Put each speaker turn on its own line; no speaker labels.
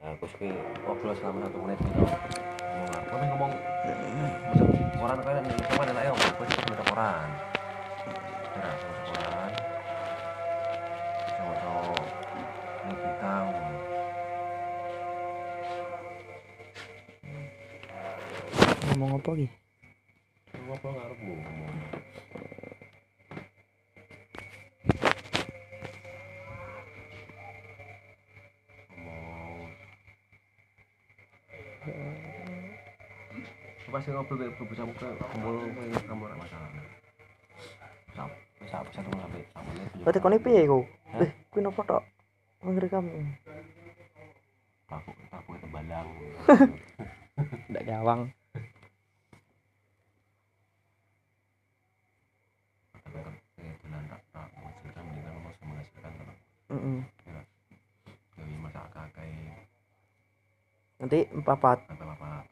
Nah, terus ki ngobrol selama satu menit gitu. Ngomong apa? Tapi ngomong masuk koran kan nih, coba dan ayo, aku cepat baca koran. Nah, aku baca koran. Bisa baca ini berita. ngomong.
ngomong apa ki
Lu apa ngarep gua ngomong? Ngomong. Lu pasti ngobrol kayak gue bisa muka kumpul kayak kamu orang masalah Sam- sam- satu sampai sampai menit, tujuh
berarti kau
menit.
piye kau
Hah?
eh kau nopo tok mm. menggerakam
Takut- takut tembalang.
ndak gawang
Takut kayak tulang tak- tak menghasilkan, mendingan lu masih menghasilkan, tetap.
Mm-mm.
Jadi masak kakek,
nanti papat
sampai bapak